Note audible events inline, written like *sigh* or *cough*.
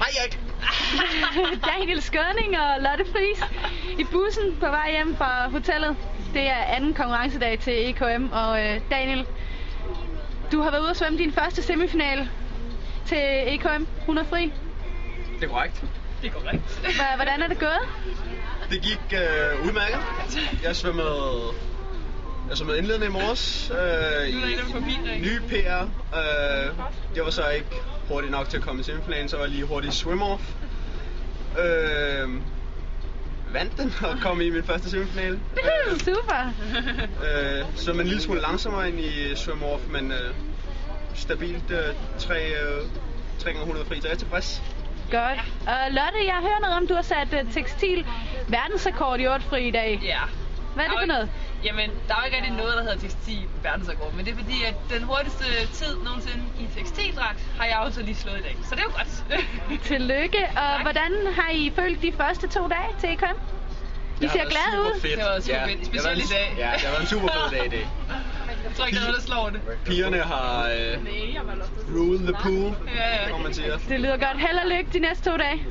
jeg... *laughs* Daniel Skørning og Lotte Friis i bussen på vej hjem fra hotellet. Det er anden konkurrencedag til EKM, og øh, Daniel, du har været ude og svømme din første semifinal til E EKM 100 fri. Det er korrekt. Det er korrekt. Hva- Hvordan er det gået? Det gik øh, udmærket. Jeg svømmede, jeg svømmede indledende i morges. Øh, Nu er der en, der er forbi dig. Nye PR. Øh, jeg var så ikke hurtig nok til at komme i semifinalen, så var jeg lige hurtig swim-off. Øh, vandt den og kom i min første semifinale. Woohoo, Super! Øh, så man en lille smule langsommere ind i swim-off, men øh, stabilt øh, 3, øh, 300 fri, så jeg er tilfreds. Godt. Og Lotte, jeg hører noget om, du har sat øh, tekstil verdensrekord i 8 fri i dag. Ja. Hvad er det for noget? Jamen, der er jo ikke rigtig noget, der hedder tekstil verdensrekord, men det er fordi, at den hurtigste tid nogensinde i tekstildragt har jeg også lige slået i dag. Så det er jo godt. *laughs* Tillykke. Og Tak. hvordan har I følt de første to dage til E EKM? I ser glade ud. Fedt. Det var super fedt, det har været specielt i en- dag. Ja, det har været en super fed dag i dag. jeg tror ikke, der er noget, der slår det. Pigerne har øh, ruled the pool, Ja, ja. som man siger. Det lyder godt. Held og lykke de næste to dage.